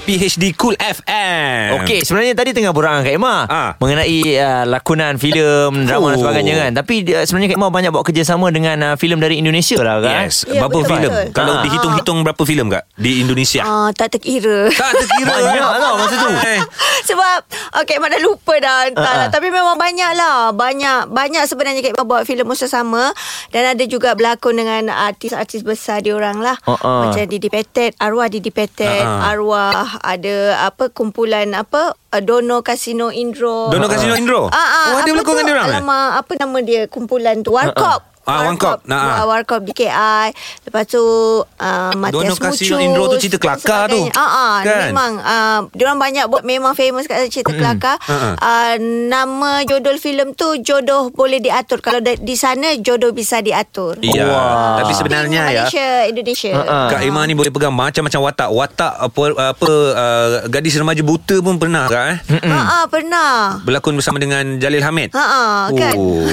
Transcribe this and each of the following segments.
PHD Cool FM. Okey, sebenarnya tadi tengah borang Kak Emma Ha. mengenai uh, lakonan filem, drama dan Oh. sebagainya kan. Tapi uh, sebenarnya Kak Emma banyak buat kerjasama dengan uh, filem dari Indonesia lah kan. Yes. Ya, berapa betul, filem? betul. Kalau Ah. dihitung-hitung berapa filem kak di Indonesia? Ah, tak terkira Tak terkira Banyak tau masa tu. Eh. Sebab Okay Mak dah lupa dah Entah Ha-ha. lah Tapi memang banyak lah Banyak Banyak sebenarnya Kak Mak buat filem musuh sama Dan ada juga berlakon dengan Artis-artis besar diorang lah Ha-ha. Macam Didi Petet Arwah Didi Petet Ha-ha. Arwah Ada apa Kumpulan apa uh, Dono Casino Indro Dono Casino Indro? Ah, ah, Oh, ada apa berlakon tu? dengan diorang, eh? Alamak Apa nama dia Kumpulan tu Warkop Ah, Warkop. Nah, ah. War- Warkop DKI Lepas tu uh, Matias Dono Casino Mucus, Indro tu cerita dan kelakar tu. sebagainya. Ah, ah, Kan? Memang uh, Diorang banyak buat Memang famous kat cerita kelakar Ha-ha. uh, Nama judul filem tu Jodoh boleh diatur Kalau da- di sana Jodoh bisa diatur Ya. Wah. Tapi sebenarnya ya. ah. Malaysia Indonesia Ha-ha. Kak Ima ni boleh pegang macam-macam watak. Watak apa apa uh, gadis remaja buta pun pernah kak eh? Hmm. Ha ah pernah Berlakon bersama dengan Jalil Hamid. Ha ah kan Oh.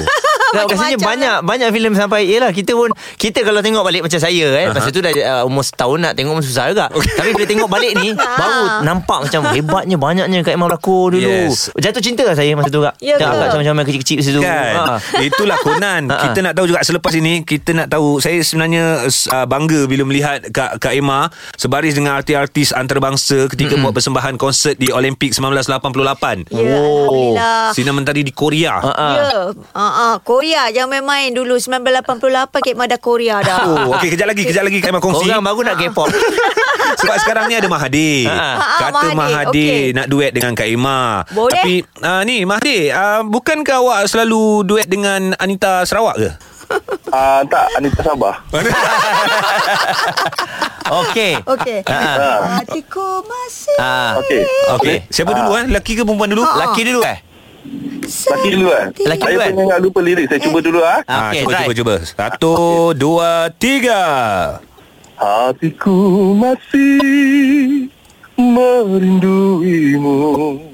Kak, Macam-macam lah. Rasanya banyak Banyak filem sampai Yelah kita pun Kita kalau tengok balik Macam saya eh Masa tu dah uh, Umur setahun nak tengok pun Susah juga Tapi bila tengok balik ni Ah. Baru nampak macam Hebatnya banyaknya Kak Imam berlakon dulu Yes. Jatuh cinta lah saya Masa tu Kak Ya ke? Tengok Kak macam-macam main kecil-kecil Masa tu Kan Ha. Itulah Conan Ha-ha. Kita nak tahu juga Selepas ini Kita nak tahu Saya sebenarnya uh, Bangga bila melihat Kak, Kak Emma Sebaris dengan artis-artis Antarabangsa Ketika buat persembahan Konsert di Olimpik 1988 Ya Oh. Alhamdulillah Sinar mentari di Korea Ya ah. ha ah Korea Jangan main-main dulu 1988 Kek Mada Korea dah Oh, okey kejap lagi, kejap lagi Kak Emma kongsi. Orang baru nak K-pop Sebab sekarang ni ada Mahathir. Ha, Kata Mahathir, Mahathir okey. nak duet dengan Kak Ima. Boleh. Tapi uh, ni Mahathir, uh, bukankah awak selalu duet dengan Anita Sarawak ke? Ah, Tak Anita Sabah Okey Okey Ha. Hatiku masih Ah. Okey. Okey. Siapa dulu eh? Lelaki ke perempuan dulu? Ha. Laki Ah. dulu eh Laki dulu kan Laki Saya dulu kan? pun ingat lupa lirik Saya cuba dulu ah. Ah, Ah, okey, cuba, try. cuba, cuba. Satu, dua, tiga. Hatiku masih merinduimu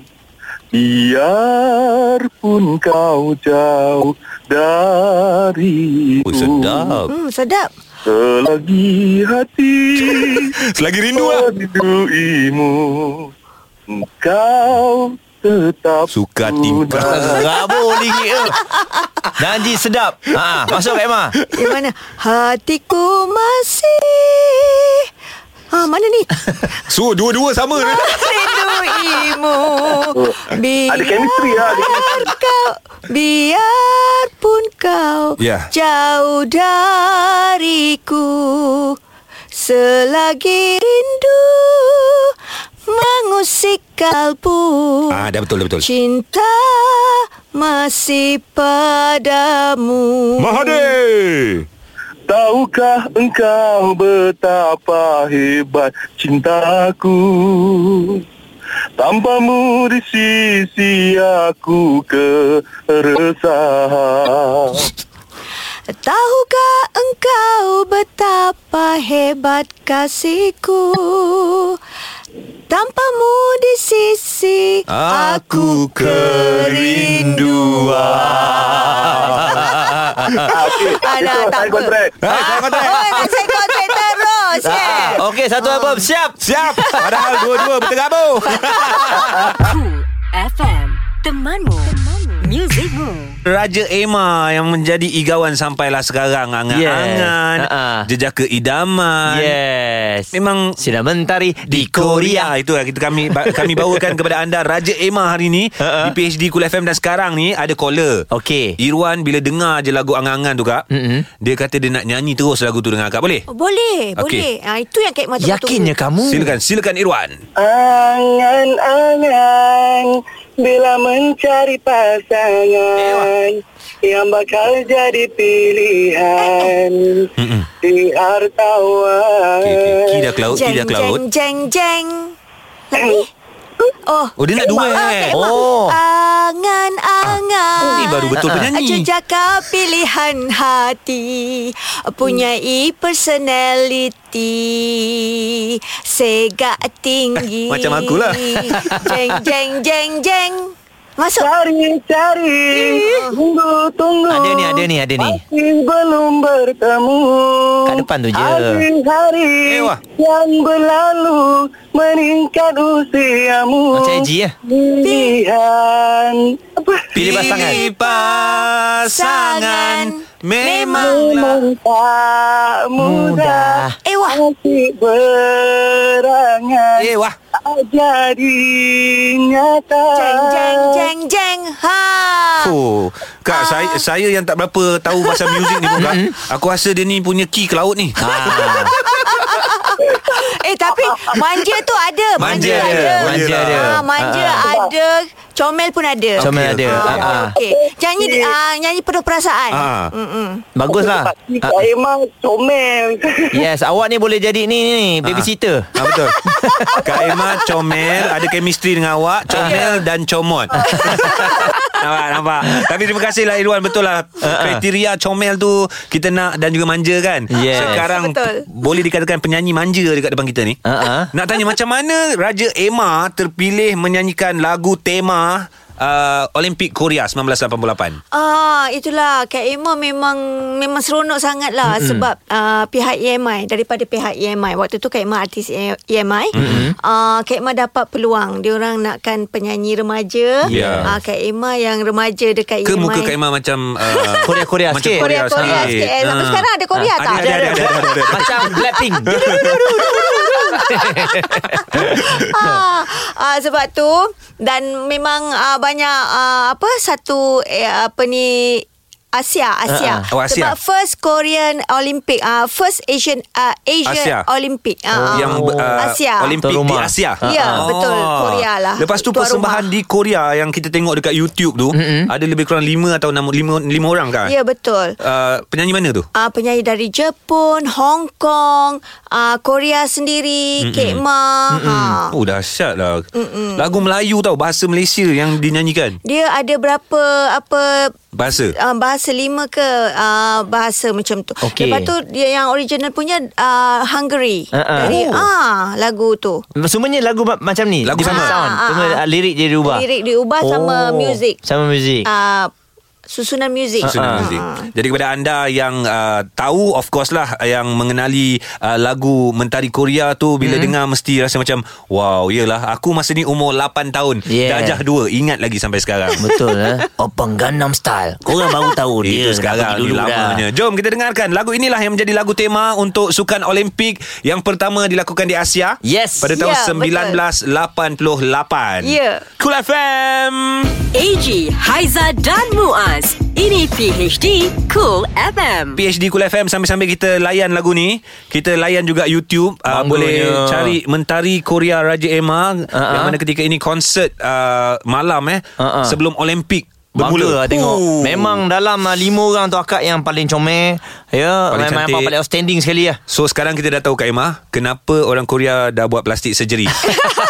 Biarpun kau jauh dariku Oh, sedap. Hmm sedap Selagi hati Selagi rindu lah. merinduimu Kau tetap Suka tingkah. Rabur lingit tu Janji sedap Ah, ha, Masuk Kak Emma Di mana hatiku masih Ah, mana ni? So dua-dua sama dia. Rindu imu Bila Ada chemistry lah, ada kau Biarpun kau Ya. Jauh dariku Selagi rindu Mengusik kalbu Ah, dah betul, dah betul. Cinta masih padamu Mahathir. Tahukah engkau betapa hebat cintaku Tanpamu di sisi aku keresahan Tahukah engkau betapa hebat kasihku Tanpamu di sisi aku, aku Alah, tak Saya apa. kontrak Hai, saya kata. Oh, nak saya kontrak terus eh. Ah, Okey, satu album siap. Siap. Padahal dua-dua berterabur. Cool FM Temanmu Muzikmu Raja Emma yang menjadi igawan sampailah sekarang. Angan-angan. Yes. Ha-ha. Jejaka idaman. Yes. Memang sinar mentari di Korea. Itu lah kita kami ba- kami bawakan kepada anda Raja Emma hari ni di Ha-ha. PhD Kul FM dan sekarang ni ada caller. Okey. Irwan bila dengar je lagu angan-angan tu kak, Mm-mm. dia kata dia nak nyanyi terus lagu tu dengan kak boleh? Oh, boleh, boleh. Okey. Ha, itu yang kait mata Yakinnya kamu? Silakan, silakan Irwan. Angan-angan Bila mencari pasangan Yang bakal jadi pilihan Di hartawan Okey, okey. Ki dah kelaut, ki Jeng, dah jeng, kelaut. jeng, jeng. Lagi. Oh. Oh, dia nak Kak dua, Mak. eh. Kak Mak. Oh. Angan, angan. Ah, ni baru betul Ah, ah. penyanyi. Jejaka pilihan hati. Hmm. Punyai personality. Segak tinggi. Eh, Macam lah. akulah. jeng, jeng, jeng, jeng. Masuk. Cari-cari Tunggu-tunggu Ada ni, ada ni, ada ni. Masih belum bertemu Kat depan tu je. Hari-hari Eh, wah. Yang berlalu Meningkat usiamu Macam Eji lah. Pilihan Apa? Pilih pasangan. Pilih pasangan memanglah. Memang tak mudah Mudah. Eh, wah. Masih berangan lah. Eh, wah. Jadi nyata Jeng, jeng, jeng, jeng. Ha. Ah. Oh, Kak, saya saya yang tak berapa tahu pasal muzik ni pun Kak. Aku rasa dia ni punya key ke laut ni. Ah, Eh tapi manja tu ada Manja dia, ada manja dia. ha, Manja Ah, ada Comel pun ada comel Okey, ada. Ah, Ah, ah. Okey. Nyanyi ah, nyanyi penuh perasaan. Ah. Mm-mm. Baguslah. Ah, Saya memang comel Yes, awak ni boleh jadi ni ni, ni babysitter. Ha, betul. Kak Emma comel, ada chemistry dengan awak, Ah. comel dan comot. nampak, nampak. Tapi terima kasih lah Irwan, betul lah. Ah, Kriteria comel tu kita nak dan juga manja kan. Yes. Sekarang Betul. boleh dikatakan penyanyi manja dekat depan kita ni. Ah, ah. Nak tanya macam mana Raja Emma terpilih menyanyikan lagu tema uh, Olimpik Korea 1988? Ah, itulah Kak Emma memang memang seronok sangat lah mm-hmm. sebab uh, pihak EMI daripada pihak EMI waktu tu Kak Emma artis E- EMI mm-hmm. uh, Kak Emma dapat peluang diorang nakkan penyanyi remaja Ya. Ah, Kak Emma yang remaja dekat E Ke EMI muka Kak Emma macam uh, Korea-Korea macam sikit. Korea Korea sikit. sikit eh. Sampai Ah. sekarang ada Korea Ah, tak? Ada ada ada, ada, ada. Macam Blackpink. ah, ah, sebab tu dan memang ah, banyak ah, apa satu eh, apa ni Asia Asia. Ah, ah. Oh, Asia. Sebab first Korean Olympic ah first Asian ah, Asia Asia. Olympic ah, ah. yang Oh, uh, Asia Olimpik Tuan di rumah. Asia. Ah. Ya, betul. Korea lah. Lepas tu Tuan persembahan rumah. di Korea yang kita tengok dekat YouTube tu mm-hmm. ada lebih kurang 5 atau 6 5 5 orang kan? Ya betul. Uh, penyanyi mana tu? Uh, penyanyi dari Jepun, Hong Kong, uh, Korea sendiri, Kek Ma. Ha. Oh dahsyat lah Mm-mm. Lagu Melayu tau Bahasa Malaysia yang dinyanyikan Dia ada berapa apa Bahasa uh, bahasa lima ke uh, bahasa macam tu. Okey. Lepas tu dia yang original punya uh, Hungary. Ah, ah. Dari Oh. ah lagu tu. Semuanya lagu ma- macam ni. Lagu Different sama. Sound. Ah, ah, Cuma ah. ah, lirik dia diubah. Ah. Lirik diubah sama muzik. Sama muzik. Uh, susunan muzik. Sunan Ah. Muzik. Jadi kepada anda yang uh, tahu of course lah yang mengenali uh, lagu Mentari Korea tu bila mm-hmm. dengar mesti rasa macam wow iyalah aku masa ni umur 8 tahun Yeah. dajah 2 ingat lagi sampai sekarang. Betul eh Opang Gangnam Style Korang baru tahu dia Itu dah sekarang pergi ni lamanya Jom kita dengarkan Lagu inilah yang menjadi lagu tema Untuk Sukan Olimpik Yang pertama dilakukan di Asia Yes. Pada tahun Ya, yeah, 1988 Ya. Cool FM AG, Haiza dan Muaz. Ini PHD Cool FM. PhD Kul FM sambil-sambil kita layan lagu ni, kita layan juga YouTube. Uh, Bangganya. boleh cari Mentari Korea Raja Emma uh-huh. Ah, yang ah. mana ketika ini konsert uh, malam eh Ah, ah. sebelum Olimpik Bangga bermula. lah tengok Ooh. Memang dalam ah, lima orang tu akak yang paling comel Ya Paling Memang cantik. abang paling outstanding sekali lah So sekarang kita dah tahu Kak Emma Kenapa orang Korea dah buat plastik surgery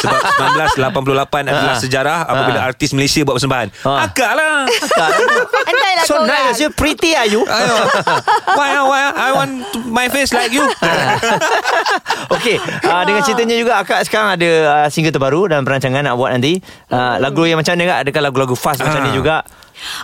Sebab 1988 adalah Ah. sejarah Apabila Ah. artis Malaysia buat persembahan Ah. Akak lah Entahlah kan. So korang. nice you Pretty are you Ayo. Why, ah, why I want to, my face like you Ha. Okey, uh, Ah. dengan ceritanya juga akak sekarang ada uh, single terbaru dan perancangan nak buat nanti. Uh, Hmm. lagu yang macam mana kak? Adakah lagu-lagu fast macam Ah. ni juga?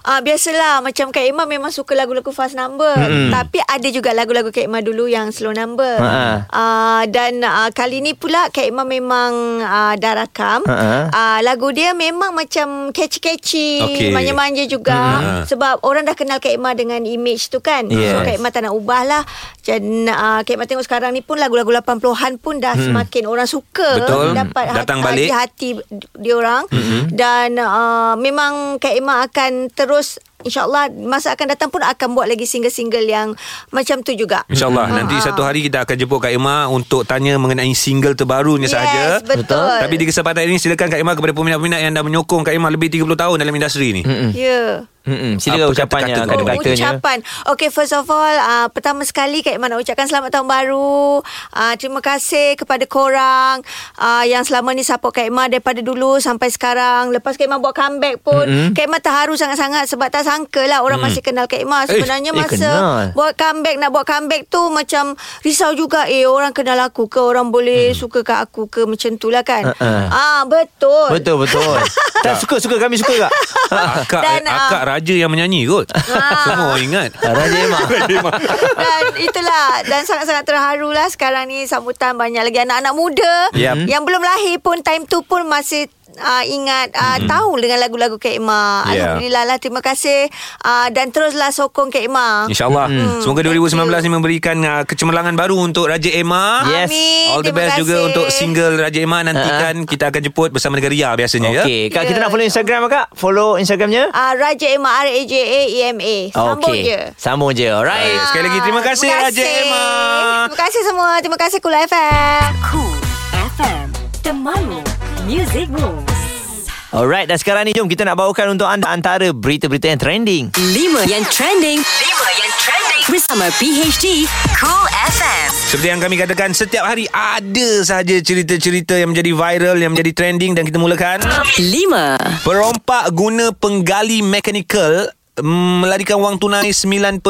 Ah biasalah macam Kak Emma memang suka lagu-lagu fast number mm-hmm. tapi ada juga lagu-lagu Kak Emma dulu yang slow number. Ha-ha. Ah dan ah, kali ni pula Kak Emma memang ah, dah rakam. Ha-ha. Ah lagu dia memang macam catchy-catchy, Okey. manja-manja juga Mm-mm. sebab orang dah kenal Kak Emma dengan image tu kan. So Yes. Kak Emma tak nak ubah lah. Dan ah, Kak Emma tengok sekarang ni pun lagu-lagu 80-an pun dah semakin orang suka Betul. dapat Datang hati, balik. hati diorang mm-hmm. Mhm. dan uh, memang Kak Emma akan terus InsyaAllah masa akan datang pun akan buat lagi single-single yang macam tu juga. InsyaAllah Nanti satu hari kita akan jemput Kak Ima Untuk tanya mengenai single terbarunya Yes, sahaja betul. Betul. Tapi di kesempatan ini Silakan Kak Ima kepada peminat-peminat Yang dah menyokong Kak Ima Lebih 30 tahun dalam industri ni Ya. Yeah. Hmm, silakan Apa ucapannya kata-kata kata tu? Oh, katanya. ucapan. Okay, first of all, uh, pertama sekali Kak Iman nak ucapkan selamat tahun baru. Uh, terima kasih kepada korang uh, yang selama ni support Kak Iman daripada dulu sampai sekarang. Lepas Kak Iman buat comeback pun, mm-hmm. Kak Iman terharu sangat-sangat sebab tak sangka lah orang mm. masih kenal Kak Iman. Sebenarnya eh, eh, masa kenal. buat comeback, nak buat comeback tu macam risau juga. Eh, orang kenal aku ke? Orang boleh mm. suka kat aku ke? Macam tu lah kan? Uh-uh. Ah, betul. Betul betul. tak suka suka kami suka kak. Akak, Dan, eh, akak ah, raja yang menyanyi kot Semua orang ingat Raja Emma. dan itulah dan sangat-sangat terharu lah sekarang ni sambutan banyak lagi anak-anak muda Yep. yang belum lahir pun time tu pun masih Uh, ingat uh, mm. tahu dengan lagu-lagu Kak Ima Hmm. Yeah. Alhamdulillah lah Terima kasih uh, Dan teruslah sokong Kak Ima InsyaAllah hmm. Semoga 2019 ni memberikan uh, Kecemerlangan baru untuk Raja Emma Yes. Amin All the Terima best kasih. juga untuk single Raja Emma Nantikan kita akan jemput bersama dengan Ria biasanya ya. Okey, kak kita Ya. nak follow Instagram kak? Follow Instagramnya? uh, Raja Ima R-A-J-A-E-M-A Ah, Sambung Okey. je Ah, Sambung je. Alright. Sekali lagi terima kasih, Raja Emma. Terima kasih semua Terima kasih Kul FM Cool FM. Temanmu. Music Moves. Alright, dan sekarang ni jom kita nak bawakan untuk anda antara berita-berita yang trending. 5 yang trending. 5 yang trending. Bersama PHD Cool FM. Seperti yang kami katakan Setiap hari ada sahaja cerita-cerita Yang menjadi viral Yang menjadi trending Dan kita mulakan 5. Perompak guna penggali mekanikal mm, Melarikan wang tunai 9.5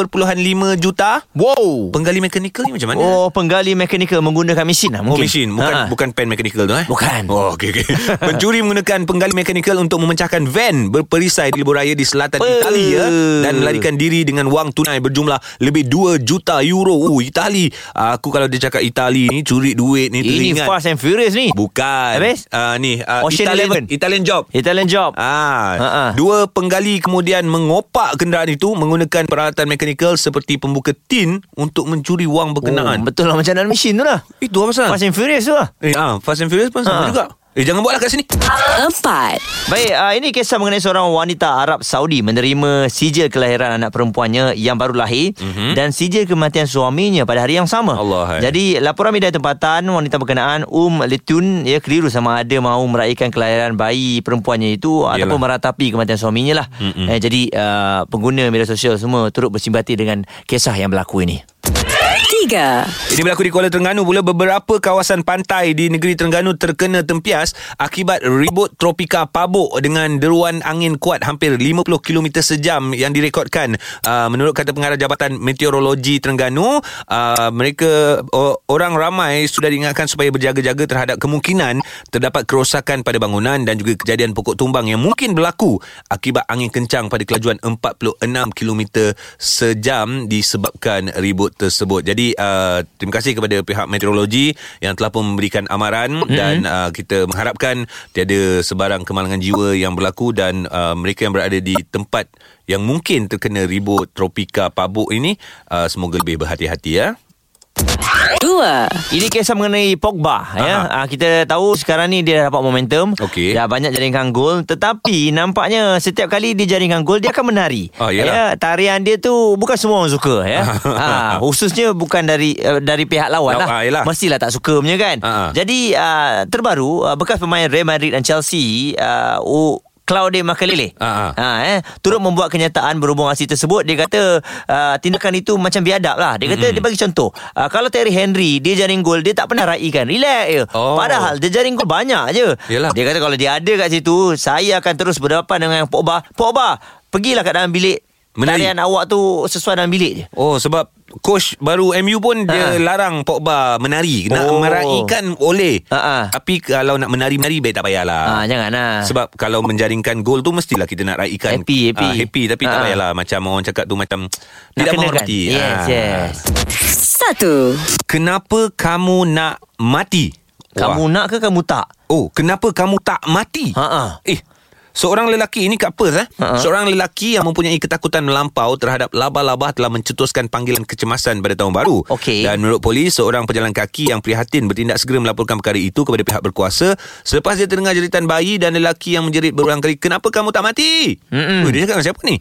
juta Wow. Penggali mekanikal ni macam mana? Oh, penggali mekanikal menggunakan mesin lah Oh, mungkin. mesin bukan Ha. bukan pen mekanikal tu eh. Bukan. Oh okey okey. Pencuri menggunakan penggali mekanikal untuk memecahkan van berperisai di libur raya di selatan Pe- Itali ya dan melarikan diri dengan wang tunai berjumlah lebih 2 juta euro. Uh Itali. Aku kalau dia cakap Itali ni curi duit ni Ini teringat. Fast and Furious ni. Bukan. Habis? Uh, ni uh, Ocean Eleven. Italian, Italian job. Italian job. Ah, Ha-ha. dua penggali kemudian mengopak kenderaan itu menggunakan peralatan mekanikal seperti pembuka tin untuk mencuri wang Oh, berkenaan. betul lah macam dalam mesin tu lah. Itu apa pasal? Fast and Furious tu lah. Eh, ah, Fast and Furious pun sama Ha. juga. Eh, jangan buatlah kat sini. 4. Baik, uh, ini kisah mengenai seorang wanita Arab Saudi menerima sijil kelahiran anak perempuannya yang baru lahir mm-hmm. dan sijil kematian suaminya pada hari yang sama. Allah, hai. Jadi, laporan media tempatan wanita berkenaan Um Letun ya keliru sama ada mahu meraihkan kelahiran bayi perempuannya itu Yalah. ataupun meratapi kematian suaminya lah. ah, Mm-hmm. Eh, jadi, uh, pengguna media sosial semua turut bersimpati dengan kisah yang berlaku ini. Tiga. Ini berlaku di Kuala Terengganu pula beberapa kawasan pantai di negeri Terengganu terkena tempias akibat ribut tropika pabuk dengan deruan angin kuat hampir 50 km sejam yang direkodkan. Uh, menurut kata pengarah Jabatan Meteorologi Terengganu, uh, mereka o, orang ramai sudah diingatkan supaya berjaga-jaga terhadap kemungkinan terdapat kerosakan pada bangunan dan juga kejadian pokok tumbang yang mungkin berlaku akibat angin kencang pada kelajuan 46 km sejam disebabkan ribut tersebut. Jadi uh, terima kasih kepada pihak meteorologi yang telah pun memberikan amaran mm-hmm. dan uh, kita mengharapkan tiada sebarang kemalangan jiwa yang berlaku dan uh, mereka yang berada di tempat yang mungkin terkena ribut tropika pabuk ini uh, semoga lebih berhati-hati ya. Dua. Ini kisah mengenai Pogba ya. Ah, kita tahu sekarang ni dia dapat momentum. Okey. Dah banyak jaringkan gol tetapi nampaknya setiap kali dia jaringkan gol dia akan menari. Ah, yalah. Ya, tarian dia tu bukan semua orang suka ya. ha, khususnya bukan dari eh, dari pihak lawan Ah, lah. yalah. Mestilah tak suka punya kan. Ah, ah. Jadi ah, terbaru ah, bekas pemain Real Madrid dan Chelsea ah, oh, Claude Makelele Ah, ah. ha, eh, Turut membuat kenyataan berhubung aksi tersebut Dia kata uh, tindakan itu macam biadab lah Dia Hmm. kata mm-hmm. dia bagi contoh uh, Kalau Terry Henry dia jaring gol Dia tak pernah raikan Relax je Oh. oh. Padahal dia jaring gol banyak je Yelah. Dia kata kalau dia ada kat situ Saya akan terus berdepan dengan Pogba Pogba Pergilah kat dalam bilik Menari. Tarian awak tu sesuai dalam bilik je Oh sebab coach baru MU pun dia Ha. larang Pogba menari. Nak oh. Oh. meraikan boleh. Ha, ha. Tapi kalau nak menari-menari baik tak payahlah. Ah, jangan lah. Sebab kalau menjaringkan gol tu mestilah kita nak raikan Happy, happy. Ah, happy tapi tak Ha, ha. payahlah macam orang cakap tu macam tidak kenakan. menghormati. kan? Yes Ah. yes Satu. Kenapa kamu nak mati? Kamu Wah. nak ke kamu tak Oh, kenapa kamu tak mati? Ha, ha. Eh, seorang lelaki ini kat Perth eh. Ha, ha. Seorang lelaki yang mempunyai ketakutan melampau terhadap laba-laba telah mencetuskan panggilan kecemasan pada tahun baru. Okey. Dan menurut polis, seorang pejalan kaki yang prihatin bertindak segera melaporkan perkara itu kepada pihak berkuasa selepas dia terdengar jeritan bayi dan lelaki yang menjerit berulang kali, "Kenapa kamu tak mati?" Ui, dia cakap dengan siapa ni?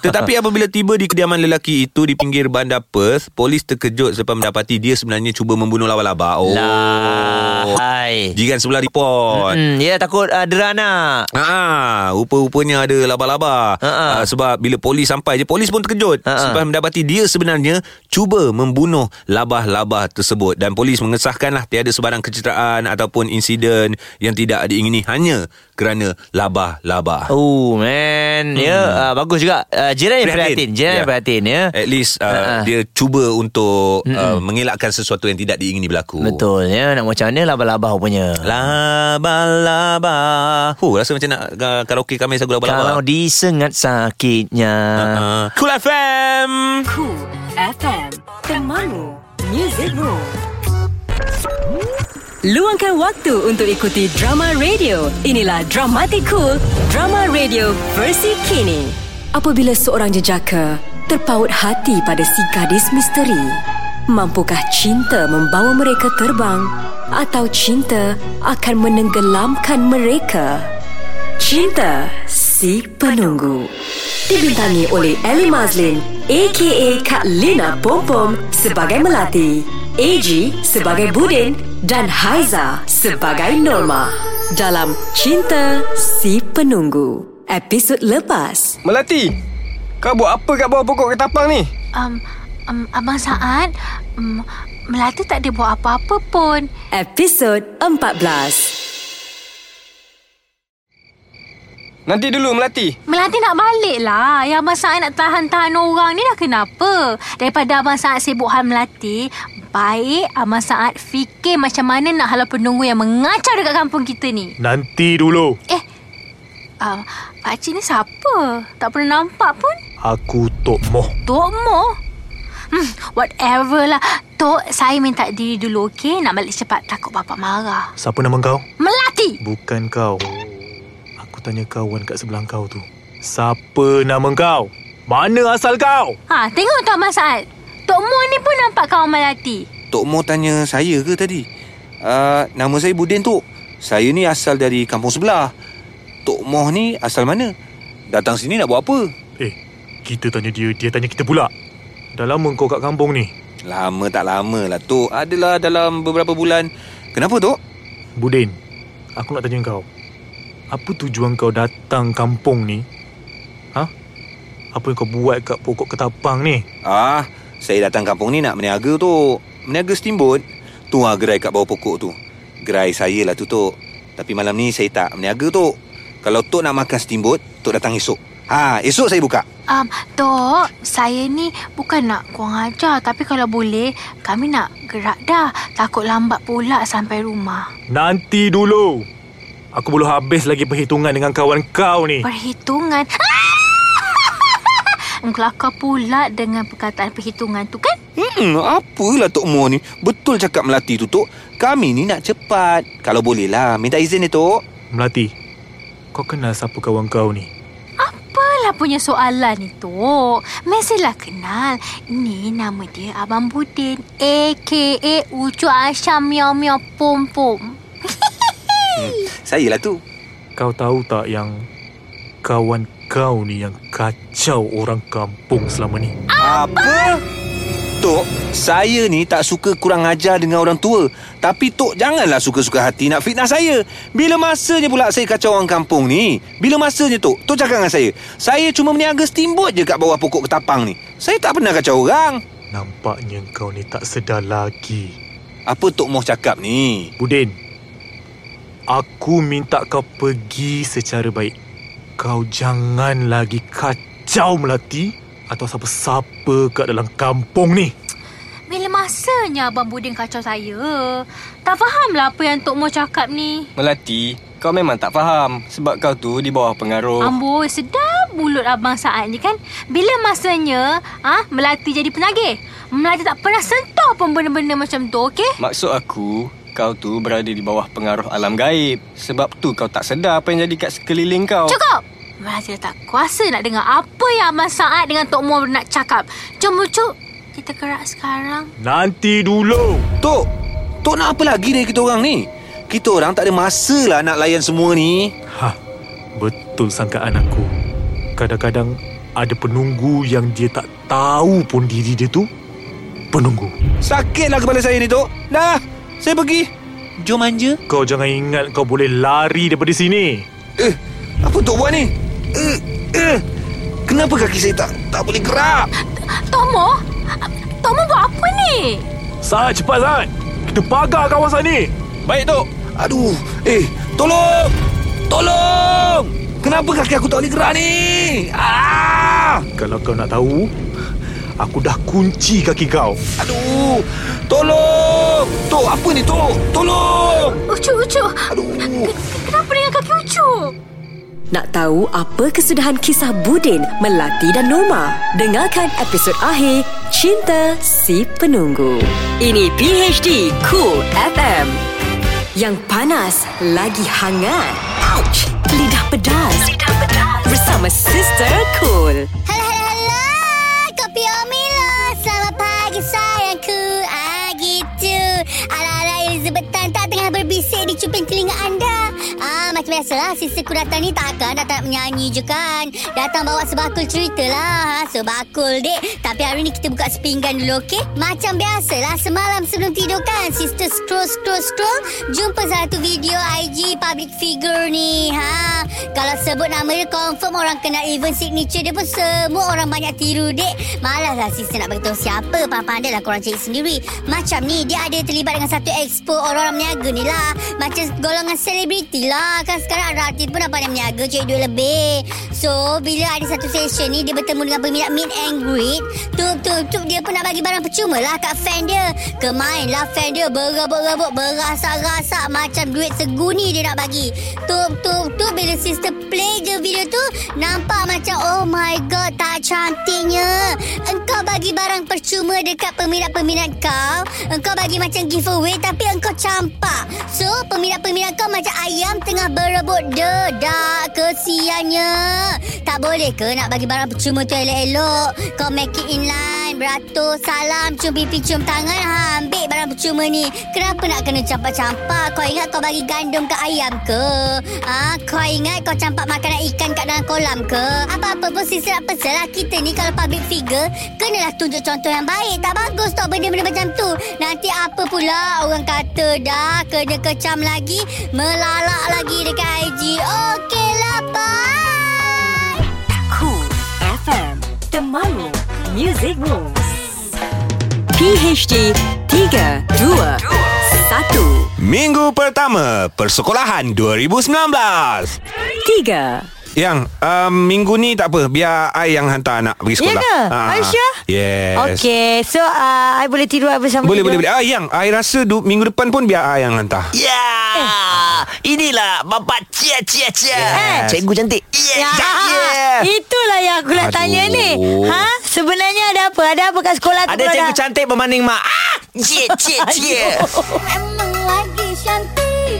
Tetapi apabila tiba di kediaman lelaki itu di pinggir bandar Perth, polis terkejut selepas mendapati dia sebenarnya cuba membunuh laba-laba. Oh. Lah. Lahai Jiran sebelah report. Hmm, ya takut uh, dera nak Ha, rupa-rupanya ada laba-laba. Ha-ha. Ah, sebab bila polis sampai je polis pun terkejut Ha-ha. sebab mendapati dia sebenarnya cuba membunuh laba-laba tersebut dan polis mengesahkanlah tiada sebarang kecederaan ataupun insiden yang tidak diingini hanya kerana laba-laba. Oh man Ya uh, Bagus juga uh, Jiran yang prihatin Jiran yang prihatin ya At least uh, Ha-ha. dia cuba untuk uh, mengelakkan sesuatu yang tidak diingini berlaku. Betul ya Nak macam mana laba-laba punya Laba-laba. Huh, rasa macam nak uh, karaoke kami lagu laba-laba. Kalau disengat sakitnya ah. Uh, cool FM. Cool FM. Temanmu. Music Room. Luangkan waktu untuk ikuti drama radio. Inilah Dramatic Cool, drama radio versi kini. Apabila seorang jejaka terpaut hati pada si gadis misteri, mampukah cinta membawa mereka terbang atau cinta akan menenggelamkan mereka? Cinta Si Penunggu Dibintangi oleh Ellie Mazlin A.K.A. Kak Lina Pompom sebagai Melati AG sebagai Budin dan Haiza sebagai Norma dalam Cinta Si Penunggu episod lepas Melati, kau buat apa kat bawah pokok ketapang ni? Um, um, Abang Saad, um, Melati tak ada buat apa-apa pun. episod 14 Nanti dulu Melati. Melati nak balik lah. Yang Abang Saad nak tahan-tahan orang ni dah kenapa? Daripada Abang Saad sibuk hal Melati, baik Abang Saad fikir macam mana nak halau penunggu yang mengacau dekat kampung kita ni. Nanti dulu Um, Pakcik ni siapa? Tak pernah nampak pun. Aku Tok Moh Tok Mo? Hmm, whatever lah. Tok, saya minta diri dulu, okey? Nak balik cepat. Takut bapak marah. Siapa nama kau? Melati! Bukan kau Aku tanya kawan kat sebelah kau tu Siapa nama kau? Mana asal kau? Ha, tengok Tok Mas Saad. Tok Mo ni pun nampak kawan Melati. Tok Mo tanya saya ke tadi? Uh, nama saya Budin Tok. Saya ni asal dari kampung sebelah. Tok Moh ni asal mana? Datang sini nak buat apa? Eh, kita tanya dia, dia tanya kita pula Dah lama kau kat kampung ni Lama tak lama lah Tok. Adalah dalam beberapa bulan. Kenapa Tok? Budin, aku nak tanya kau Apa tujuan kau datang kampung ni? Ha? Apa yang kau buat kat pokok ketapang ni? Ah, Saya datang kampung ni nak meniaga tu Meniaga steamboat Tu lah gerai kat bawah pokok tu Gerai saya lah tu Tok Tapi malam ni saya tak meniaga Tok Kalau Tok nak makan steamboat Tok datang esok Ha, esok saya buka Um, Tok, saya ni bukan nak kurang ajar tapi kalau boleh kami nak gerak dah. Takut lambat pula sampai rumah. Nanti dulu. Aku belum habis lagi perhitungan dengan kawan kau ni. Perhitungan. Em, Kelakar pula dengan perkataan perhitungan tu kan? Hmm, apalah Tok Mo ni Betul cakap Melati tu Tok Kami ni nak cepat Kalau boleh lah Minta izin dia Tok Melati, kau kenal siapa kawan kau ni? Apalah punya soalan ni, Tok? Mestilah kenal. Ni nama dia Abang Budin. A.K.A. Ucu Asyam Miau Miau Pom Pom. Saya lah tu Kau tahu tak yang kawan kau ni yang kacau orang kampung selama ni? Apa? Tok, saya ni tak suka kurang ajar dengan orang tua. Tapi Tok janganlah suka-suka hati nak fitnah saya. Bila masanya pula saya kacau orang kampung ni? Bila masanya Tok? Tok cakap dengan saya. Saya cuma meniaga steamboat je kat bawah pokok ketapang ni. Saya tak pernah kacau orang. Nampaknya kau ni tak sedar lagi. Apa Tok Moh cakap ni? Budin, aku minta kau pergi secara baik. Kau jangan lagi kacau Melati atau siapa-siapa kat dalam kampung ni. Bila masanya Abang Budin kacau saya? Tak fahamlah apa yang Tok Mo cakap ni. Melati, kau memang tak faham sebab kau tu di bawah pengaruh. Oh. Amboi, sedap mulut Abang Saat ni kan. Bila masanya, ah ha, Melati jadi penagih. Melati tak pernah sentuh pun benda-benda macam tu, okey? Maksud aku, kau tu berada di bawah pengaruh alam gaib. Sebab tu kau tak sedar apa yang jadi kat sekeliling kau. Cukup! Melati dah tak kuasa nak dengar apa yang Abang Saat dengan Tok Mo nak cakap. Jom, Ucu. Kita gerak sekarang. Nanti dulu. Tok, Tok nak apa lagi dari kita orang ni? Kita orang tak ada masa lah nak layan semua ni. Hah, Ha, betul sangkaan aku. Kadang-kadang ada penunggu yang dia tak tahu pun diri dia tu penunggu. Sakitlah lah kepala saya ni Tok. Dah, saya pergi. Jom anja. Kau jangan ingat kau boleh lari daripada sini. Eh, apa Tok buat ni? Eh, eh. Kenapa kaki saya tak tak boleh gerak? Tok Mo? Tok Mo buat apa ni? Saat cepat Saat. Kita pagar kawasan ni. Baik, Tok. Aduh, eh, tolong! Tolong! Kenapa kaki aku tak boleh gerak ni? Ah! Kalau kau nak tahu, aku dah kunci kaki kau. Aduh! Tolong! Tok, apa ni Tok? Tolong! Ucu, Ucu. Aduh! Kenapa dengan kaki Ucu? Nak tahu apa kesudahan kisah Budin, Melati dan Norma? Dengarkan episod akhir Cinta Si Penunggu. Ini PHD Cool FM. Yang panas lagi hangat. Ouch! Lidah pedas. Lidah pedas. Bersama Sister Cool. Hello, hello, hello. Kopi Omilo. Selamat pagi sayangku. Ah, gitu. Ala-ala Elizabeth Tan tak tengah berbisik di cuping telinga anda. Ah, macam biasalah. Sisterku datang ni takkan datang nak menyanyi je kan. Datang bawa sebakul cerita lah. Ha, sebakul, dek. Tapi hari ni kita buka sepinggan dulu, okey? Macam biasalah. Semalam sebelum tidur kan. Sister scroll, scroll, scroll. Jumpa satu video IG public figure ni. Ha, kalau sebut nama dia confirm orang kenal even signature dia pun semua orang banyak tiru dek. Malaslah sister nak beritahu siapa pandai lah korang cari sendiri. Macam ni dia ada terlibat dengan satu expo orang-orang meniaga ni lah. Macam golongan selebriti lah. Kan sekarang ada artis pun apa yang meniaga cari duit lebih. So bila ada satu session ni dia bertemu dengan peminat meet and greet. Tup tup tup dia pun nak bagi barang percuma lah kat fan dia. Kemain lah fan dia berebut-rebut berasak-rasak macam duit seguni dia nak bagi. Tup tup tup bila sister play je video tu nampak macam oh my god tak cantiknya. Engkau bagi barang percuma dekat peminat-peminat kau. Engkau bagi macam giveaway tapi engkau campak. So peminat-peminat kau macam ayam tengah berebut dedak kesiannya. Tak boleh ke nak bagi barang percuma tu elok-elok. Kau make it inline beratur salam cium pipi cium tangan ha ambil barang percuma ni. Kenapa nak kena campak-campak? Kau ingat kau bagi gandum ke ayam ke? Ah, ha, kau ingat kau campak makanan ikan kat dalam kolam ke? Apa-apa pun sister nak pesan lah. Kita ni kalau public figure, kenalah tunjuk contoh yang baik. Tak bagus tau benda-benda macam tu. Nanti apa pula orang kata dah kena kecam lagi, melalak lagi dekat IG. Okeylah, bye. Cool FM. The Music Rules. PHD 3, 2, 1. Minggu pertama Persekolahan 2019 Tiga. Yang um, Minggu ni tak apa Biar I yang hantar anak Ya Pergi sekolah ke? Ah. Are you sure? Yes Okay So uh, I boleh tidur I bersama Boleh tidur. boleh boleh Ah yang I rasa du, Minggu depan pun Biar I yang hantar Ya yeah. Inilah Bapak Cia Cia Cia Eh. Cikgu cantik Ya, Itulah yang aku nak Aduh. tanya ni Ha? Sebenarnya ada apa? Ada apa kat sekolah tu Ada kalau cikgu dah- cantik berbanding mak ah! Cie cie cie Memang lagi cantik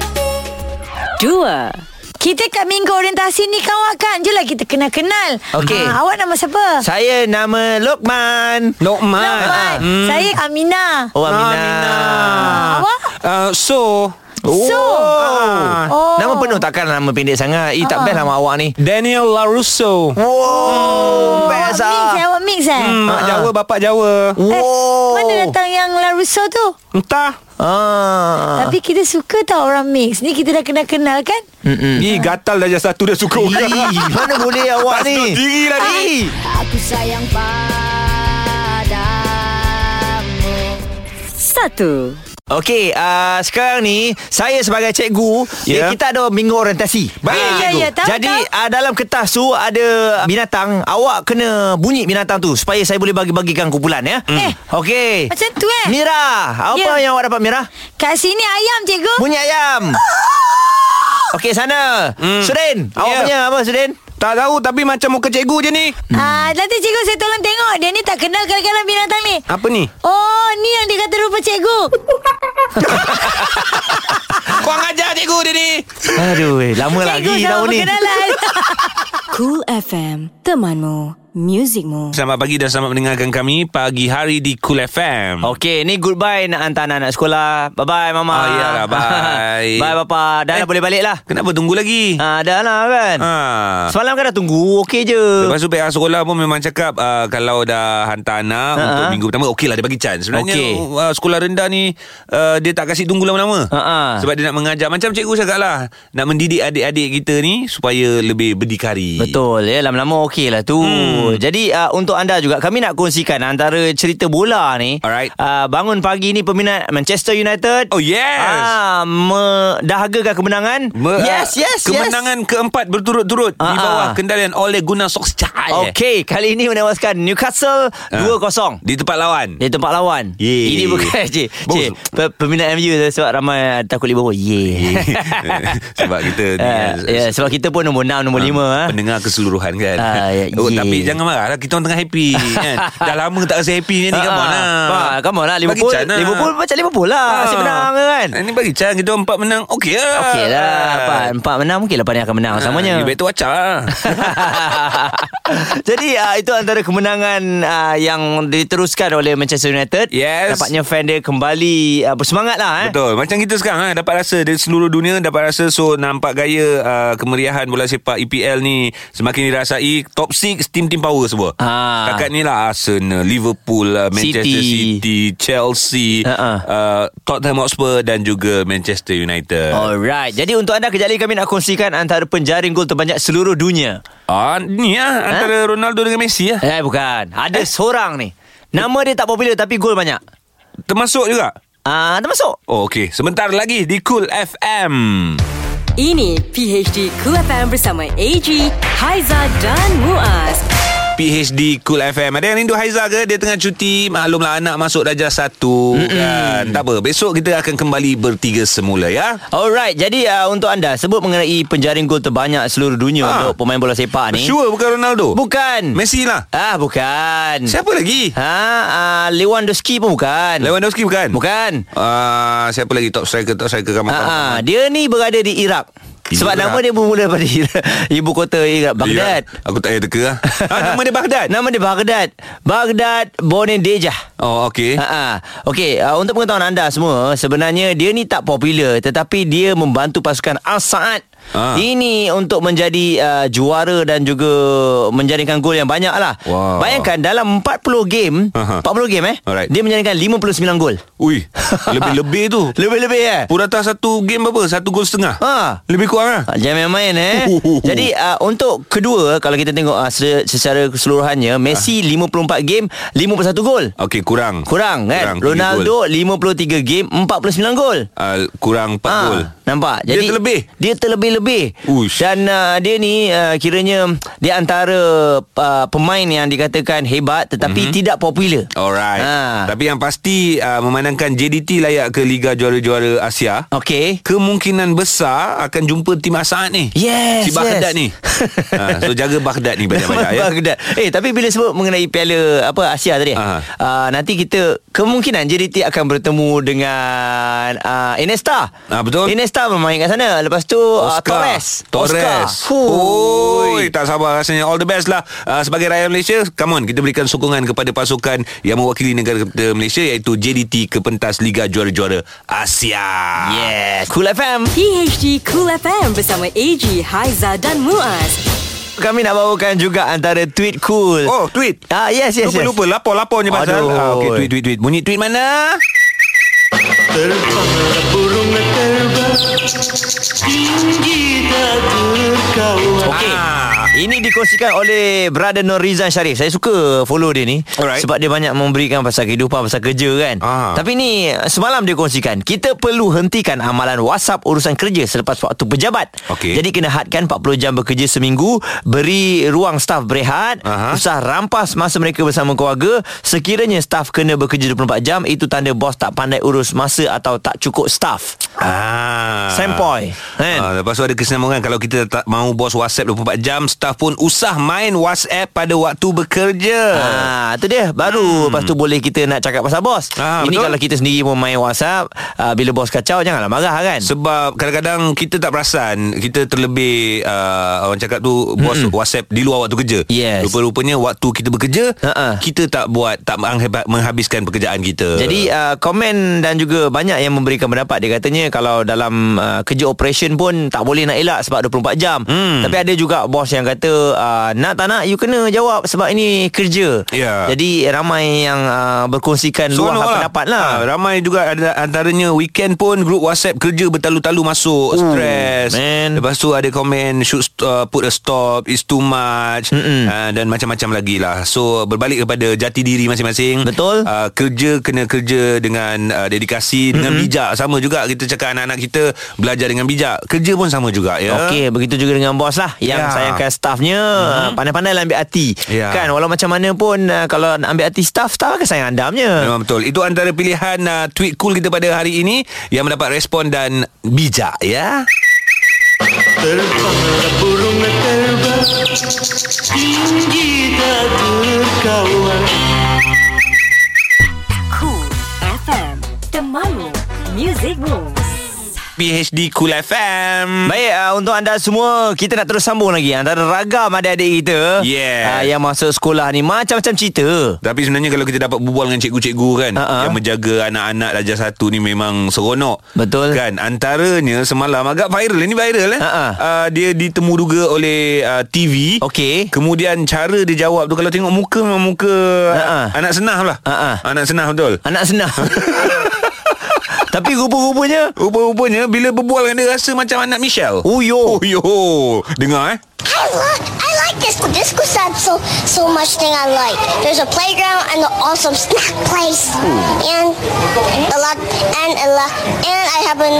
Dua. Kita kat minggu orientasi ni kawan kan je lah kita kenal-kenal Okey. ha, Awak nama siapa? Saya nama Lokman Lokman, Lokman. Hmm. Saya Aminah Oh Aminah, Awak? Uh, so Oh. So. Ah. Oh. Nama penuh takkan nama pendek sangat Eh tak best nama awak ni Daniel LaRusso Wow oh, Awak mix eh? Best ah Awak mix eh? hmm, Mak Jawa Bapak Jawa Wow Mana datang yang Larusso tu? Entah ah. Tapi kita suka tau orang mix Ni kita dah kenal-kenal kan? Mm-mm. Ih, gatal dah jas satu dah suka orang. Ih, Mana boleh awak Pasal ni diri lah ni. Ih. Aku sayang padamu Satu. Okey, uh, sekarang ni saya sebagai cikgu, Ya. yeah. kita ada minggu orientasi. Baik, Ah, ya, cikgu. ya, tahu, Jadi tahu. uh, dalam kertas tu ada binatang, awak kena bunyi binatang tu supaya saya boleh bagi-bagikan kumpulan ya. Eh, Okey. macam tu, eh? Mira, apa Ya. yang awak dapat Mira? Kat sini ayam cikgu Bunyi ayam. Oh. Okey, sana. Mm. Sudin, awak Ya. punya apa Sudin? Tak tahu tapi macam muka cikgu je ni. Ah, Nanti cikgu saya tolong tengok Dia ni tak kenal kadang-kadang binatang ni Apa ni? Oh ni yang dia kata rupa cikgu Kau ajar cikgu dia ni. Aduh, eh, lama Cikgu lagi sama tahun ni. berkenalan Cool FM, temanmu, muzikmu. Selamat pagi dan selamat mendengarkan kami pagi hari di Cool FM. Okey, ni goodbye nak hantar anak-anak sekolah. Bye-bye, Mama. Ah, iyalah, bye. bye, Papa. Dah eh. Eh. boleh balik lah. Kenapa tunggu lagi? Ah, dah lah kan. Ha. Semalam kan dah tunggu Okey je Lepas tu pihak sekolah pun memang cakap uh, kalau dah hantar anak Ha, untuk ha. minggu pertama okey lah dia bagi chance. Sebenarnya Okey. uh, sekolah rendah ni uh, dia tak kasih tunggu lama-lama. Ha, ha. Sebab dia nak mengajar macam cikgu cakap lah nak mendidik adik-adik kita ni supaya lebih berdikari. Betul ya Lama-lama okey lah tu hmm. Jadi uh, untuk anda juga Kami nak kongsikan Antara cerita bola ni Alright. uh, Bangun pagi ni Peminat Manchester United Oh, yes. uh, Mendahagakan kemenangan Me- ah, Yes yes yes. Kemenangan keempat berturut-turut Ah, di bawah ah. kendalian oleh Gunnar Solskjaer. Okey Kali ini menewaskan Newcastle Ah. 2-0 Di tempat lawan. Di tempat lawan Yeay. Ini bukan cik, cik Bagus. pe- Peminat MU Sebab ramai takut Liverpool Yeah, Sebab kita ni, eh, Ah, yeah, Sebab kita pun nombor 6 Nombor 5 ah. Pendengar keseluruhan kan Ah, ya, oh, ye. Tapi jangan marah lah Kita orang tengah happy kan Dah lama tak rasa happy ni Come on lah Bah, Ah, come on lah Bagi Liverpool chance lah. Liverpool macam Liverpool lah Ah. Asyik menang ke kan Ini bagi chance Kita orang empat menang Okey lah Okey lah Empat, empat menang Mungkin lapan yang akan menang Ah, Samanya You better watch out lah Jadi uh, itu antara kemenangan uh, Yang diteruskan oleh Manchester United Yes. Dapatnya fan dia kembali uh, Bersemangat lah eh. Betul Macam kita sekarang eh, Dapat rasa Dari seluruh dunia Dapat rasa So nampak gaya uh, Kemeriahan bola sepak EPL ni Semakin dirasai Top 6 Tim-tim power semua Ah. Setakat ni lah Arsenal Liverpool uh, Manchester City. City, Chelsea Uh-uh. uh, Tottenham Hotspur Dan juga Manchester United Alright Jadi untuk anda kejap lagi kami nak kongsikan Antara penjaring gol terbanyak seluruh dunia Ah, Ni lah Antara Ronaldo dengan Messi lah Eh bukan Ada seorang ni Nama dia tak popular tapi gol banyak Termasuk juga Ah, uh, Termasuk Oh okey Sebentar lagi Di Cool FM Ini PHD Cool FM bersama AG, Haiza dan Muaz. PhD Cool FM Ada yang rindu Haiza ke Dia tengah cuti Maklumlah anak masuk darjah satu mm kan. Tak apa Besok kita akan kembali bertiga semula ya Alright, jadi uh, untuk anda sebut mengenai penjaring gol terbanyak seluruh dunia Ah. untuk pemain bola sepak ni. Sure bukan Ronaldo Bukan. Messi lah Ah, bukan. Siapa lagi Ha, uh, Lewandowski pun bukan. Lewandowski bukan Bukan. Ah, Siapa lagi top striker Top striker kan, kamu Ha, ha, dia ni berada di Iraq. Di Sebab Iraq. nama dia bermula daripada Iraq, ibu kota Iraq, Baghdad. Aku tak payah teka lah ah, Nama dia Baghdad Nama dia Baghdad. Baghdad Bonedejah. Oh okey Ha ah. Okey, uh, untuk pengetahuan anda semua, sebenarnya dia ni tak popular tetapi dia membantu pasukan Al Saad Ah. Ini untuk menjadi uh, juara dan juga menjaringkan gol yang banyak lah Wow. Bayangkan dalam 40 game Aha. 40 game eh Alright. Dia menjaringkan 59 gol Ui Lebih-lebih tu Lebih-lebih eh Purata satu game berapa? Satu gol setengah Ha. Lebih kurang peluang lah Ah, Jangan main-main eh Jadi uh, untuk kedua Kalau kita tengok uh, secara, secara keseluruhannya Ah. Messi 54 game 51 gol Okey kurang Ah. Kurang Kurang, kan tiga Ronaldo 53 game 49 gol uh, Kurang 4 Ah, gol Nampak Dia Jadi, terlebih. Dia terlebih-lebih Ush. Dan uh, dia ni uh, Kiranya Dia antara uh, Pemain yang dikatakan hebat Tetapi Mhm. mm-hmm. tidak popular Alright ha. Tapi yang pasti uh, Memandangkan JDT layak ke Liga Juara-Juara Asia Okey Kemungkinan besar Akan jumpa tim Asaat ni Yes, Si Baghdad yes. ni ha, So jaga Baghdad ni banyak-banyak ya Baghdad. Eh tapi bila sebut mengenai Piala apa Asia tadi, Ha. uh nanti kita kemungkinan JDT akan bertemu dengan uh, Inesta. Ah, betul. Inesta bermain kat sana. Lepas tu uh, Torres. Oscar. Torres Oi, tak sabar rasanya All the best lah uh, Sebagai rakyat Malaysia Come on Kita berikan sokongan kepada pasukan Yang mewakili negara kita Malaysia Iaitu JDT ke pentas Liga Juara-Juara Asia Yes Cool FM PHD Cool FM bersama AG, Haiza dan Muaz. Kami nak bawakan juga antara tweet cool. Oh, tweet. Ah, yes, yes, yes. Lupa-lupa Lapor-lapor je pasal Aduh. ah, Okay, tweet, tweet, tweet Bunyi tweet mana? Okey. Ini dikongsikan oleh Brother Norizan Syarif. Saya suka follow dia ni Alright. sebab dia banyak memberikan pasal kehidupan, pasal kerja kan. Ah. Tapi ni semalam dia kongsikan, kita perlu hentikan amalan WhatsApp urusan kerja selepas waktu pejabat. Okay. Jadi kena hadkan 40 jam bekerja seminggu, beri ruang staf berehat, uh-huh. usah rampas masa mereka bersama keluarga. Sekiranya staf kena bekerja 24 jam, itu tanda bos tak pandai urus masa atau tak cukup kan? staf. Ah. Sempoi. Ah, lepas tu ada kesinambungan Kalau kita tak mahu bos WhatsApp 24 jam Staff pun usah main WhatsApp pada waktu bekerja Ah, tu dia. Baru hmm. lepas tu boleh kita nak cakap pasal bos. Ah, betul. Ini betul? kalau kita sendiri pun main WhatsApp, ah, bila bos kacau janganlah marah kan. Sebab kadang-kadang kita tak perasan Kita terlebih uh, Orang cakap tu Bos mm WhatsApp di luar waktu kerja Yes. Rupa-rupanya waktu kita bekerja uh-uh. Kita tak buat Tak mengha- menghabiskan pekerjaan kita Jadi uh, komen dan juga banyak yang memberikan pendapat Dia katanya kalau dalam uh, kerja operation pun tak boleh nak elak sebab 24 jam hmm. Tapi ada juga bos yang kata uh, nak tak nak you kena jawab sebab ini kerja Ya. Jadi ramai yang uh, berkongsikan luar Seronok pendapat lah ha, Ramai juga ada antaranya Weekend pun Grup WhatsApp kerja bertalu-talu Oh, masuk Ooh, Stress man. Lepas tu ada komen Should st- uh, put a stop It's too much uh, Dan macam-macam lagi lah So berbalik kepada Jati diri masing-masing Betul uh, Kerja kena kerja Dengan uh, dedikasi Dengan bijak Sama juga kita cakap Anak-anak kita Belajar dengan bijak Kerja pun sama juga ya Okey, begitu juga dengan bos lah Ya. yang Hmm. yeah. sayangkan stafnya mm-hmm. pandai-pandai lah ambil hati. Ya. Yeah. Kan walau macam mana pun uh, kalau nak ambil hati staf, staf akan sayang anda punya. Memang betul Itu antara pilihan uh, Tweet cool kita pada hari ini Yang mendapat respon dan Bijak ya Cool FM, temanmu, music moves. PHD Cool FM Baik, uh, untuk anda semua Kita nak terus sambung lagi Antara ragam adik-adik kita Yeah. uh, Yang masuk sekolah ni Macam-macam cerita Tapi sebenarnya kalau kita dapat berbual dengan cikgu-cikgu kan Ha, uh-uh. Yang menjaga anak-anak darjah satu ni memang seronok Betul Kan antaranya semalam agak viral Ini viral eh Ha, uh-uh. uh, Dia ditemu duga oleh uh, TV Okay Kemudian cara dia jawab tu Kalau tengok muka memang muka Ha, uh-uh. Anak senah lah uh-uh. Anak senah betul Anak senah Ha, Tapi rupa-rupanya Rupa-rupanya bila berbual dengan dia Rasa macam anak Michelle Uyo Uyo Dengar eh I like I like this this school has so so much thing I like. There's a playground and an awesome snack place, and a lot and a lot and I have a,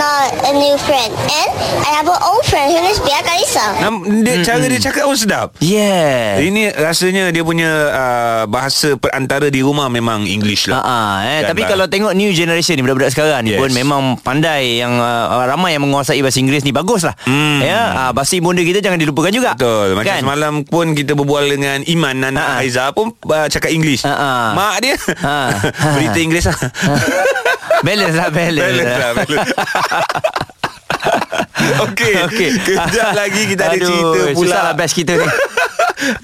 a new friend and I have an old friend. Her name is Bea Kalisa. Nam, dia, Hmm, mm Cara dia cakap pun sedap Yeah Ini rasanya dia punya uh, Bahasa perantara di rumah Memang English lah uh-uh, eh. Tapi kalau tengok new generation ni Budak-budak sekarang ni Yes. yes. pun Memang pandai yang uh, Ramai yang menguasai bahasa Inggeris ni Bagus lah hmm. ya? uh, Bahasa ibunda kita jangan dilupakan juga Betul Macam kan? semalam pun Kita berbual dengan Iman Nana uh-huh. Aiza pun uh, Cakap English uh-huh. Mak dia uh-huh. Berita Inggeris lah Balance lah balance Balance lah balance Okey okay. Kejap lagi kita ada Aduh, cerita pula Susah lah best kita ni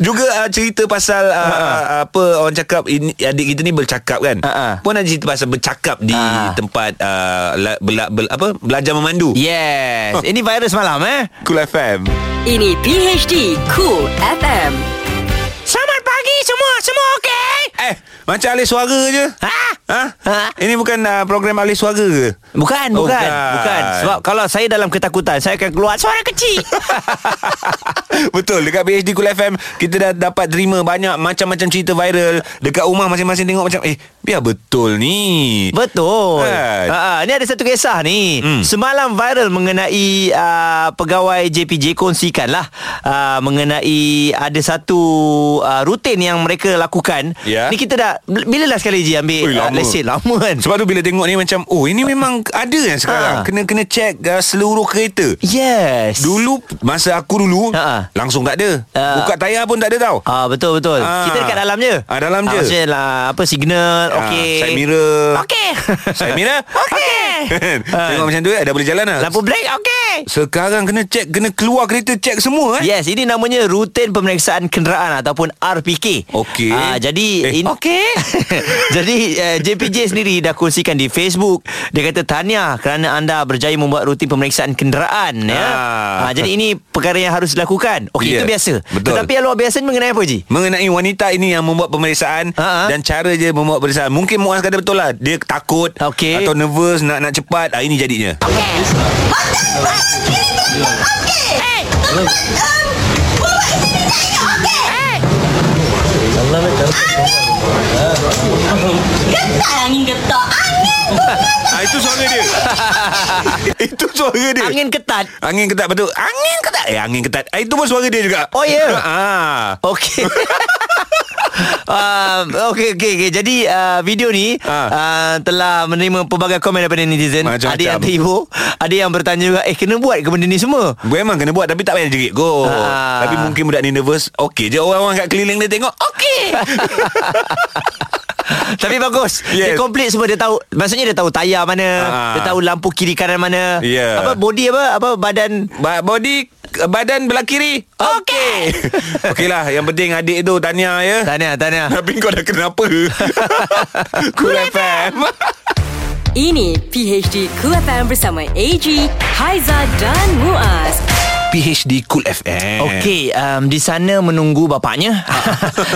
Juga uh, cerita pasal uh, uh, apa orang cakap ini, adik kita ni bercakap kan. Uh-huh. Pun ada cerita pasal bercakap di uh-huh. tempat uh, la, bela, bel, apa belajar memandu. Yes. Ini virus malam eh. Cool FM. Ini PHD Cool FM. Selamat pagi semua, semua okey? Eh, macam alih suara je. Ha? Ha? Ini bukan uh, program alih suara ke? Bukan, Oh, bukan, bukan. bukan. Sebab kalau saya dalam ketakutan, saya akan keluar suara kecil. Betul Dekat PhD Kul FM Kita dah dapat terima Banyak macam-macam cerita viral Dekat rumah masing-masing tengok macam Eh biar betul ni Betul. Kan? Ha, ha, ni ada satu kisah ni. Hmm. Semalam viral mengenai uh, pegawai JPJ kongsikan lah uh, mengenai ada satu uh, rutin yang mereka lakukan. Ya. Ni kita dah bila last kali je ambil Ui, uh, lama. lesen lama kan. Sebab tu bila tengok ni macam Oh ini memang ada yang sekarang ha. Kena kena check uh, seluruh kereta Yes Dulu Masa aku dulu ha. Langsung tak ada ha. Buka tayar pun tak ada tau Ah betul betul. Ah. Kita dekat dalam je. Ah, dalam Ah, je. Maksudnya lah, apa signal, Ah, okey. side mirror. Okey. Saya Mira Okey. Ha. Ah, Tengok macam tu eh, Dah boleh jalan lah Lampu break, okey. Sekarang kena check Kena keluar kereta check semua eh Yes, ini namanya rutin pemeriksaan kenderaan ataupun RPK. Okey. Ah, jadi Eh, in... okey. jadi uh, JPJ sendiri dah kongsikan di Facebook. Dia kata tahniah kerana anda berjaya membuat rutin pemeriksaan kenderaan ya. Ah. Ah, jadi ini perkara yang harus dilakukan. Okey, Ya, itu biasa. betul. Tetapi yang luar biasa ni mengenai apa Ji? Mengenai wanita ini yang membuat pemeriksaan Ha, uh-huh. Dan cara dia membuat pemeriksaan Mungkin Muaz kata betul lah Dia takut okay. Atau nervous Nak nak cepat ah, Ini jadinya ya, Getar angin getar Angin ah, Itu suara dia Itu suara dia Angin ketat Angin ketat betul Angin ketat Eh angin ketat ah, Itu pun suara dia juga Oh, ya? ah. Okey. Uh, okey okey okey. Jadi uh, video ni uh. Uh, telah menerima pelbagai komen daripada netizen. Ha. Macam-macam. Ada yang terhibur, ada yang bertanya juga eh kena buat ke benda ni semua? Memang kena buat Tapi tak payah jerit Go Ah. Tapi mungkin budak ni nervous Okey je orang-orang kat keliling dia tengok Okey Tapi bagus. Yes. Dia Yes. komplit semua dia tahu. Maksudnya dia tahu tayar mana, Ah. dia tahu lampu kiri kanan mana. Yeah. Apa body apa apa badan ba- Body Badan belah kiri Okey Okey lah Yang penting adik tu Tahniah ya Tahniah tahniah Tapi kau dah kenapa Cool FM Ini PHD Cool FM bersama AG, Haiza dan Muaz. PHD Cool FM Okey, um, di sana menunggu bapaknya.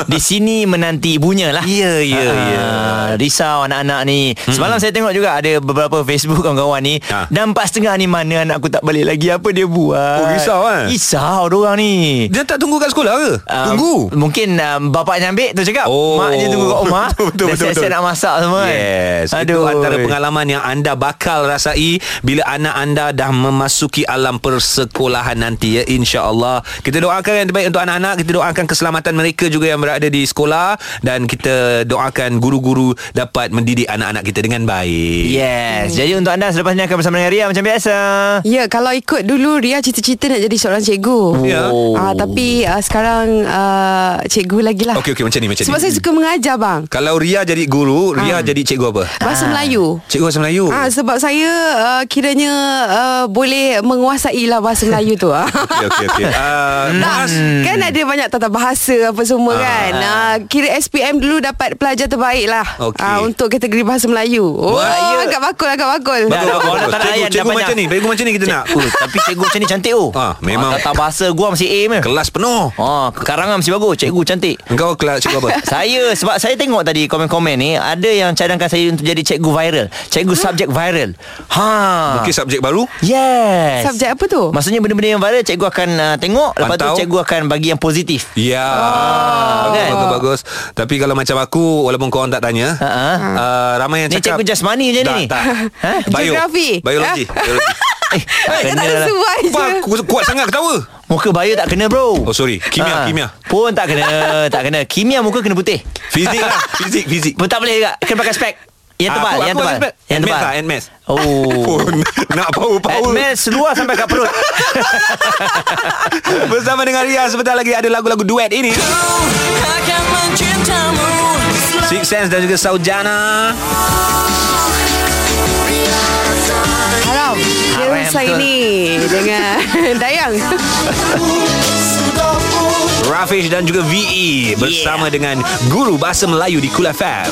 di sini menanti ibunya lah. Ya, ya, ya. Ah, Hmm. Risau anak-anak ni. Semalam saya tengok juga ada beberapa Facebook kawan-kawan ni. Dan empat setengah ni mana anak aku tak balik lagi. Apa dia buat? Ah. Oh, risau, eh? Risau diorang ni. Dia tak tunggu kat sekolah ke? Um, Tunggu. Mungkin um, bapaknya ambil tu cakap. Oh. Maknya tunggu kat rumah. Betul, betul, dah betul, siap-siap betul. nak masak semua kan. Yes Aduh. Itu antara pengalaman yang anda bakal rasai Bila anak anda dah memasuki alam persekolahan nanti ya InsyaAllah Kita doakan yang terbaik untuk anak-anak Kita doakan keselamatan mereka juga yang berada di sekolah Dan kita doakan guru-guru dapat mendidik anak-anak kita dengan baik Yes. Jadi untuk anda selepas ni akan bersama dengan Ria macam biasa. Ya, kalau ikut dulu Ria cita-cita nak jadi seorang cikgu. Ya. Ah, tapi ah, sekarang ah, cikgu lagi lah. Okey okey macam ni macam Sebab ni saya suka mengajar bang. Kalau Ria jadi guru Ria jadi cikgu apa? Bahasa Melayu. Cikgu bahasa Melayu Ah sebab saya uh, kiranya uh, boleh menguasai lah bahasa Melayu tu. Okey okey okey uh, Tak, kan ada banyak tata bahasa apa semua Ah. kan. Ah kira SPM dulu dapat pelajar terbaik lah Okey. ya. Ah, untuk kategori bahasa Melayu. Oh, Bahaya. agak bakul agak bakul. Bagus, bagus, bagus. Cikgu, cikgu macam ni Cikgu macam ni kita nak Oh, tapi cikgu macam ni cantik oh. Ah, memang. Ah, tata bahasa gua masih aim eh. Kelas penuh. Ah, karangan masih bagus. Cikgu cantik. Engkau kelas cikgu apa? saya sebab saya tengok tadi komen-komen ni ada yang cadangkan saya untuk jadi cikgu viral. Cikgu subjek viral. Ha. Mungkin subjek baru Yes. Subjek apa tu? Maksudnya benda-benda yang viral cikgu akan uh, tengok lepas Pantau. tu cikgu akan bagi yang positif. Ya oh. kan? Ah, Bagus bagus Tapi kalau macam aku Walaupun korang tak tanya uh-huh. uh, Ramai yang Ni cakap cikgu jasmani je Tak, ni. tak. Ha? Bio. Geografi. Ah. Biologi Biologi Tak kena lah. sesuai Apa je. aku kuat sangat ketawa Muka bio tak kena bro. Oh sorry Kimia Ah. Kimia Pun tak kena Tak kena Kimia muka kena putih Fizik lah Fizik Fizik Pun tak boleh juga Kena pakai spek Yang tebal Ah, Aku- Yang aku tebal ada spek. Yang Admit tebal lah, admit. Oh Pun Nak power-power Admin seluar sampai kat perut Bersama dengan Ria Sebentar lagi ada lagu-lagu duet ini Six Sense dan juga Saujana Haram. Haram Haram, saya betul. ni dengan Dayang. Rafish dan juga VE Bersama dengan Guru Bahasa Melayu di Kul FM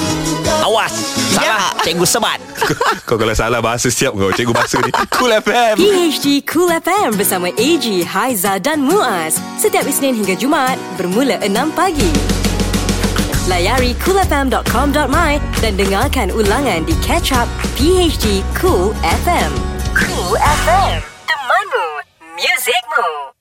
Awas Salah Cikgu sebat Kau kalau salah bahasa siap kau Cikgu bahasa ni Cool FM PHD Cool FM bersama AG, Haiza dan Muaz. Setiap Isnin hingga Jumaat bermula 6 pagi. Layari coolfm.com.my dan dengarkan ulangan di Catch Up PHD Cool FM. Cool FM. Temanmu. Muzikmu.